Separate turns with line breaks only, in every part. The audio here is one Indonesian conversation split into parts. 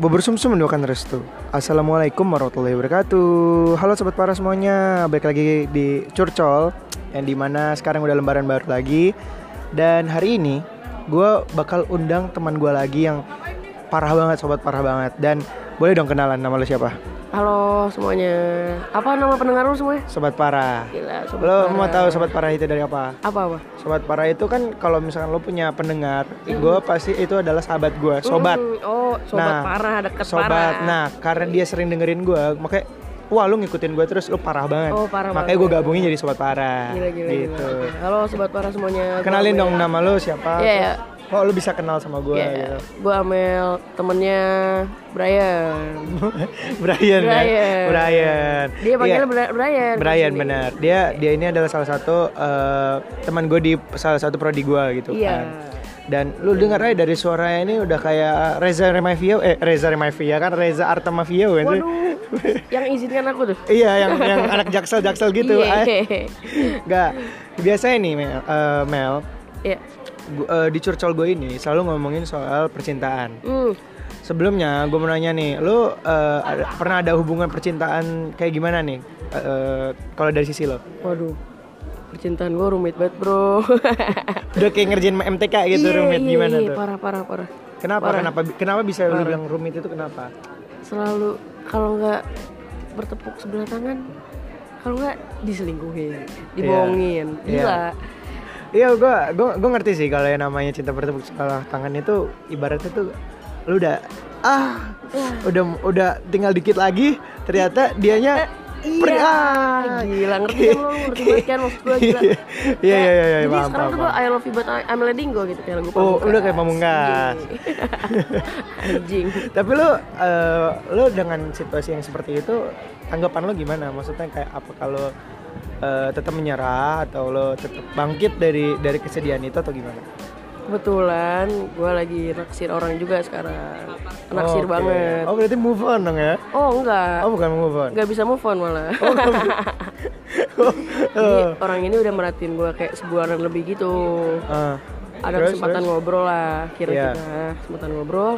Bebersumsum mendoakan restu. Assalamualaikum warahmatullahi wabarakatuh. Halo sobat para semuanya, balik lagi di Curcol yang dimana sekarang udah lembaran baru lagi. Dan hari ini gue bakal undang teman gue lagi yang parah banget sobat parah banget. Dan boleh dong kenalan nama lo siapa?
Halo semuanya. Apa nama pendengar lu semua?
Sobat parah.
Gila, sobat
Lo mau
parah.
tahu sobat parah itu dari apa?
Apa apa?
Sobat parah itu kan kalau misalkan lo punya pendengar, gue pasti itu adalah sahabat gue, sobat. Nah,
Hmm, oh, sobat parah, dekat
sobat.
parah.
Nah, karena dia sering dengerin gue, makanya wah lu ngikutin gue terus lu parah banget.
Oh, parah
makanya
banget.
gue gabungin jadi sobat parah.
Gila gila. gila.
gitu.
Oke. Halo sobat parah semuanya. Gua
Kenalin
Amel.
dong nama lu siapa?
Iya,
terus- Oh, lu bisa kenal sama gue
Iya.
gitu.
Gua Amel, temennya Brian.
Brian, ya?
Brian.
Brian.
Dia panggilnya
Iya.
Bra- Brian.
Brian
di sini.
benar. Dia dia ini adalah salah satu eh, teman gue di salah satu prodi gue gitu
Iya.
kan. Dan lu dengar aja dari suaranya ini udah kayak Reza Remavia eh Reza Remavia kan Reza Artamavia kan tuh.
Waduh. yang izinkan aku tuh.
Iya yang yang anak jaksel jaksel gitu.
Iya.
Eh, Nggak biasanya nih Mel, eh, Mel
Iya.
gua- eh, di curcol gue ini selalu ngomongin soal percintaan.
Hmm.
Sebelumnya gue mau nanya nih, lu eh, ada- pernah ada hubungan percintaan kayak gimana nih? Eh, eh, Kalau dari sisi lo,
Waduh. Percintaan gua rumit banget, Bro.
udah kayak ngerjain MTK gitu
Iya,
rumit
iya,
gimana
iya,
tuh?
Parah, parah, parah.
Kenapa? Kenapa? Kenapa bisa lu bilang rumit itu kenapa?
selalu kalau nggak bertepuk sebelah tangan kalau nggak diselingkuhin dibohongin gila
Iya, gue gue gue ngerti sih kalau yang namanya cinta bertepuk sebelah tangan itu ibaratnya tuh lu udah ah udah udah tinggal dikit lagi ternyata dianya
iya gila ngerti kan lo ngerti banget kan maksud gue gila
Iya, iya, iya, iya,
jadi
paham,
sekarang
paham,
tuh gue I love you but I- I'm letting go gitu kayak lagu
Oh,
Pamungkas.
udah kayak pamungkas.
Iya. anjing
Tapi lu eh, lu dengan situasi yang seperti itu tanggapan lu gimana? Maksudnya kayak apa kalau eh, tetap menyerah atau lo tetap bangkit dari dari kesedihan itu atau gimana?
kebetulan gue lagi naksir orang juga sekarang naksir
Oke.
banget
Oh, berarti move on dong ya?
oh enggak
Oh, bukan move on.
nggak bisa move on malah
Oh.
Jadi orang ini udah merhatiin gue kayak sebulan lebih gitu.
Ah.
Ada kesempatan ngobrol lah, kira-kira
Iya.
kesempatan ngobrol,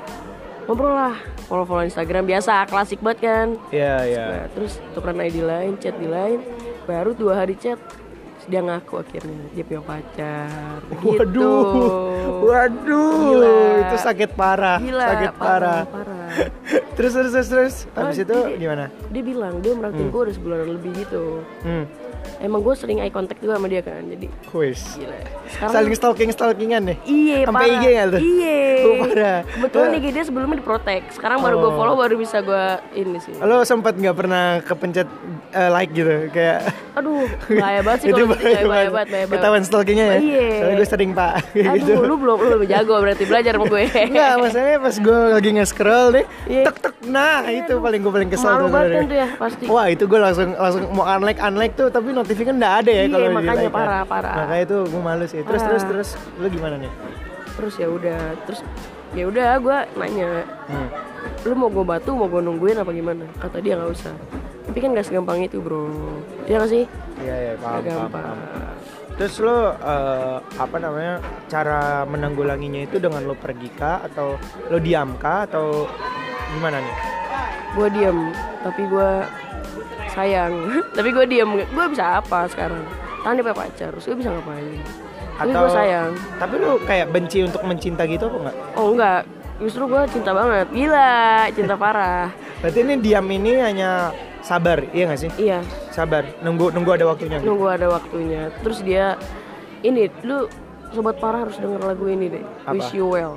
ngobrol lah. Follow-follow Instagram biasa, klasik banget kan.
Iya, iya.
Nah, terus tukeran ID lain, chat di lain. Baru dua hari chat, terus dia ngaku akhirnya dia punya pacar. Gitu.
Waduh. Waduh.
Gila.
Itu sakit parah.
Gila,
sakit parah.
parah, parah.
terus terus terus terus. Habis itu gimana?
Dia bilang dia merhatiin gue udah sebulan lebih gitu.
Hmm.
Emang gue sering eye contact juga sama dia kan, jadi
Kuis.
gila.
Saling stalking stalkingan nih.
Iya,
Sampai IG nggak tuh?
Iya.
Oh, parah. Oh.
Kebetulan IG dia sebelumnya diprotek. Sekarang baru gue follow baru bisa gue ini sih.
Lo sempat nggak pernah kepencet eh, like gitu kayak
Aduh, bahaya banget sih
itu
kalau gitu.
bahaya
Bahaya
banget.
banget, bahaya banget.
Ketahuan stalkingnya ya.
Iya.
Soalnya gue sering pak.
Aduh,
gitu.
lu belum lu lebih jago berarti belajar sama gue.
Enggak, masalahnya pas gue lagi nge-scroll nih,
Iya.
tek tek nah itu paling gue paling kesel
Malu
tuh
banget kan
sebenarnya.
tuh ya pasti.
Wah itu gue langsung langsung mau unlike unlike tuh tapi notifiknya nggak ada ya
Iya,
kalau di
makanya
like-an.
parah, parah. Ah.
Makanya itu gue malu sih. Terus terus terus lu gimana nih?
Terus ya udah, terus ya udah gue nanya,
Hmm.
lu mau gue batu mau gue nungguin apa gimana? Kata dia nggak usah. Tapi kan gak segampang itu bro. Iya gak sih?
Iya iya paham,
Gak
paham,
gampang.
paham. Terus lu eh, apa namanya cara menanggulanginya itu dengan lu pergi kah atau lu diam kah atau gimana nih?
gue diem tapi gue sayang tapi gue diem gue bisa apa sekarang kan dia punya pacar terus gue bisa ngapain tapi
Atau
gue sayang
Tapi lu kayak benci untuk mencinta gitu apa enggak?
oh enggak justru gue cinta banget gila cinta parah
Berarti ini diam ini hanya sabar, iya nggak sih?
iya
Sabar, nunggu nunggu ada waktunya. gitu.
nunggu ada waktunya terus dia ini lu sobat parah harus denger lagu ini deh
Apa?
wish you well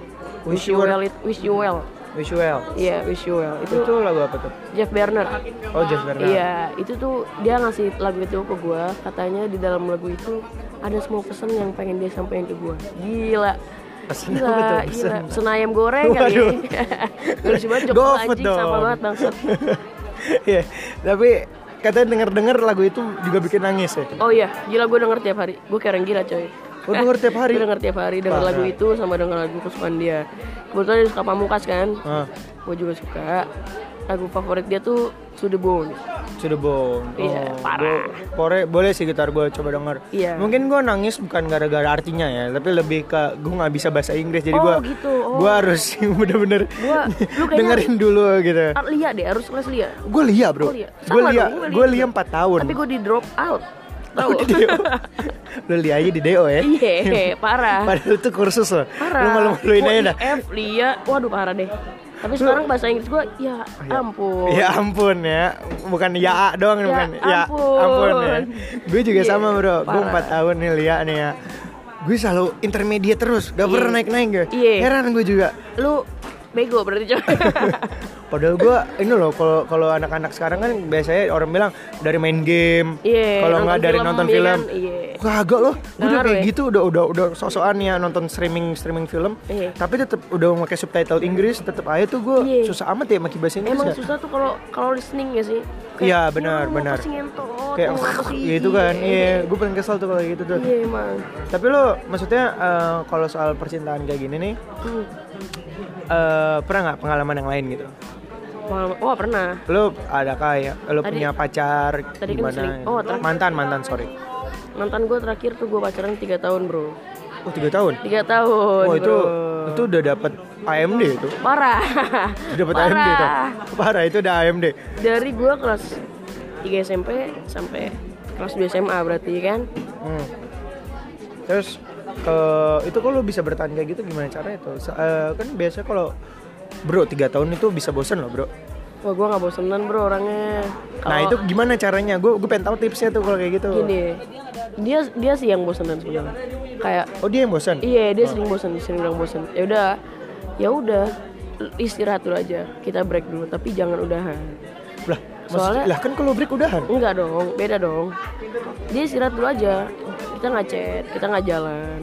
Wish You
wish, you
Well.
well it- wish you well
Wish you well.
iya wish you well itu
Itu lagu apa tuh?
Jeff Berner
Oh Jeff Bernal.
Iya, itu tuh dia ngasih lagu itu ke gue. Katanya di dalam lagu itu ada semua pesan yang pengen dia sampaikan ke gue. Gila.
Pesan
Gila,
apa tuh? Pesan.
gila. Pesan ayam goreng kali
Waduh.
ya. Lucu banget jokes
Gofood
anjing
dong.
sama banget bangsat.
Iya, tapi katanya denger-denger lagu itu juga bikin nangis ya.
Oh iya, gila gue denger tiap hari. Gue kayak orang gila coy.
Gue denger tiap hari.
Gue denger tiap hari denger lagu itu sama denger lagu kesukaan dia. Kebetulan dia suka pamungkas kan.
Ah,
Gue juga suka. lagu favorit dia tuh To The Bone.
Sudah bohong. Oh,
Iya, parah.
Pore, boleh sih gitar gue coba denger.
Iya.
Mungkin gue nangis bukan gara-gara artinya ya, tapi lebih ke gue nggak bisa bahasa Inggris jadi
Oh,
gue
gitu. Oh.
gue harus bener-bener
Gua- lu kayaknya-
dengerin dulu gitu.
Ah, Lia deh, harus les Lia.
Gue lia bro,
Oh, Lia.
gue
Sama
lia,
dong, gua Lia
gue
juga.
lia empat tahun.
Tapi gue di drop out. Tahu?
Di DO. Lu lia aja di DO ya.
Iya, parah.
Padahal itu kursus loh.
Parah. Iya,
Lu malu-maluin aja dah.
F, Lia, waduh parah deh. Tapi sekarang bahasa Inggris gue, ya ampun.
Ya ampun ya, bukan ya A doang nih,
Ya
bukan ya
ampun.
ampun ya. Gue juga
Iya,
sama bro, gue
parah.
4 tahun nih Lia nih ya. Gue selalu intermediate terus, gak pernah naik naik gue.
Iya.
Heran gue juga.
Lu bego berarti coy.
Padahal gue ini loh, kalau kalau anak-anak sekarang kan biasanya orang bilang dari main game,
Iya,
kalau
nonton
nggak dari
film,
nonton
iya
film.
kan? Iya.
Kagak loh, gue udah
Ngaruh
kayak
ya?
gitu, udah udah udah sosokan ya nonton streaming streaming film.
Iya.
Tapi tetap udah pakai subtitle Inggris, tetap aja tuh gue
Iya.
susah amat ya pakai bahasa Inggris.
Emang
ya.
susah tuh kalau kalau listening ya sih.
Iya, benar,
"Ya,
benar.
apa sih ngentot,
kayak
mau apa sih?"
ya itu kan
Iya,
iya gue paling kesel tuh kalau gitu tuh
Iya, emang.
tapi lo maksudnya eh, kalau soal percintaan kayak gini nih
Hmm.
eh, pernah nggak pengalaman yang lain gitu
Pengalaman- Wah, pernah.
lo ada kayak lo
Tadi-
punya pacar
tadi kan
gimana
sering- oh, tadi-
mantan mantan sorry
Mantan gue terakhir tuh gue pacaran 3 tahun, Bro.
oh tiga tahun
3 tahun.
oh itu
bro.
itu udah dapat AMD itu
parah.
udah dapat AMD tuh
Parah.
parah itu udah AMD
Dari gue kelas 3 SMP sampai kelas 2 SMA berarti kan.
hmm. terus ke itu kalau bisa bertahan kayak gitu gimana caranya tuh Sa- eh, kan biasanya kalau bro tiga tahun itu bisa bosen loh bro
Wah, gue gak bosenan, Bro, orangnya.
Nah
Kalau
itu gimana caranya? Gue gue pengen tahu tipsnya tuh kalau kayak gitu.
Oh. gini. Dia dia sih yang bosenan sebenarnya. Kayak
Oh dia yang bosan?
Iya dia sering bosan, sering bilang bosan. Ya udah, ya udah istirahat dulu aja. Kita break dulu, tapi jangan udahan.
Lah, maksudnya,
Soalnya-
lah kan kalau break udahan.
Enggak dong, beda dong. Dia istirahat dulu aja. Kita nggak chat, kita nggak jalan.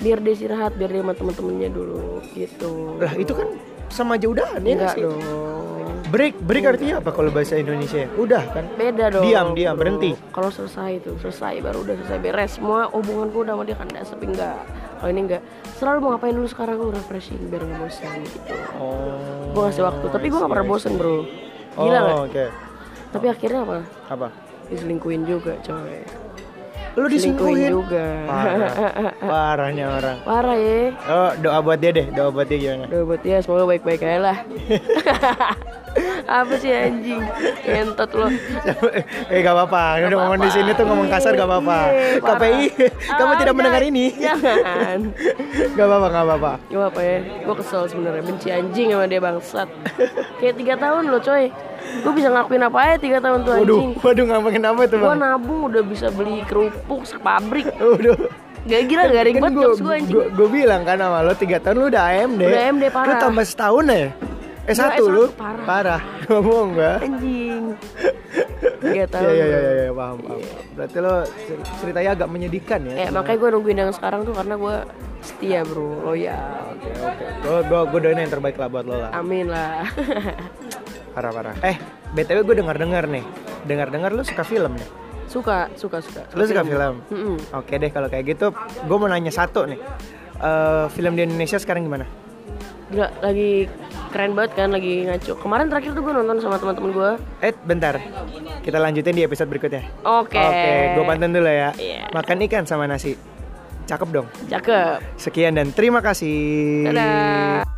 Biar dia istirahat, biar dia sama temen-temennya dulu, gitu.
Lah itu kan sama aja udahan ya nggak
enggak
sih?
dong.
Break, break artinya apa kalau bahasa Indonesia? Udah kan?
Beda dong.
Diam, diam,
bro.
berhenti.
Kalau selesai itu, selesai baru udah selesai beres. Semua hubungan gue udah sama dia kan enggak sepi enggak. Kalau ini enggak, selalu mau ngapain dulu sekarang lu refreshing biar nggak bosan gitu.
Oh.
gue ngasih waktu tapi gue gak pernah bosen bro
Oh,
gila gak?
oke.
tapi akhirnya apa
Apa?
diselingkuin juga coy
Lu
diselingkuin
diselingkuhin.
juga
Parah. Parahnya orang.
parah ya
Oh, doa buat dia deh, doa buat dia gimana?
Aduh buat dia semoga baik-baik aja lah Apa sih anjing Entot lo
eh gak apa-apa, udah ngomong di sini tuh ngomong kasar gak apa-apa.
Iya, parah.
KPI, kamu
Ah,
tidak mendengar
jangan-
ini.
Jangan
Gak apa-apa, gak apa-apa.
Gak apa ya Gue kesel sebenarnya Benci anjing sama dia bangsat Kayak 3 tahun lo coy Gue bisa ngelakuin apa aja 3 tahun tuh
Waduh,
anjing
waduh ngomongin apa tuh
Gue
bang?
nabung udah bisa beli kerupuk sepabrik
Waduh.
Gak gila gak
Kan
ribet jokes gue anjing
Gue bilang kan sama lo 3 tahun lu udah AMD.
Udah AMD,
Lu
parah.
tambah setahun ya? Eh
Enggak,
satu
S1,
lu.
parah.
Ngomong gak?
anjing Gak tau
Iya iya iya iya paham paham. Berarti lo cer- ceritanya agak menyedihkan ya.
Eh makanya gue nungguin yang sekarang tuh karena gue setia bro Loyal
Oke oke. Gue gue gue doain yang terbaik lah buat lo lah.
Amin lah
Parah parah. Eh btw gue dengar dengar nih. Dengar dengar lo suka film nih.
Suka, suka, suka
Lo suka film?
Mm-mm.
Oke deh kalau kayak gitu, gue mau nanya satu nih. Eh, film di Indonesia sekarang gimana?
Gila, lagi keren banget kan lagi ngaco Kemarin terakhir tuh gue nonton sama teman-teman gue
Eh bentar, kita lanjutin di episode berikutnya.
Oke
Oke, gue pantun dulu ya.
Iya.
Makan ikan sama nasi. Cakep dong.
Cakep
Sekian dan terima kasih.
Dadah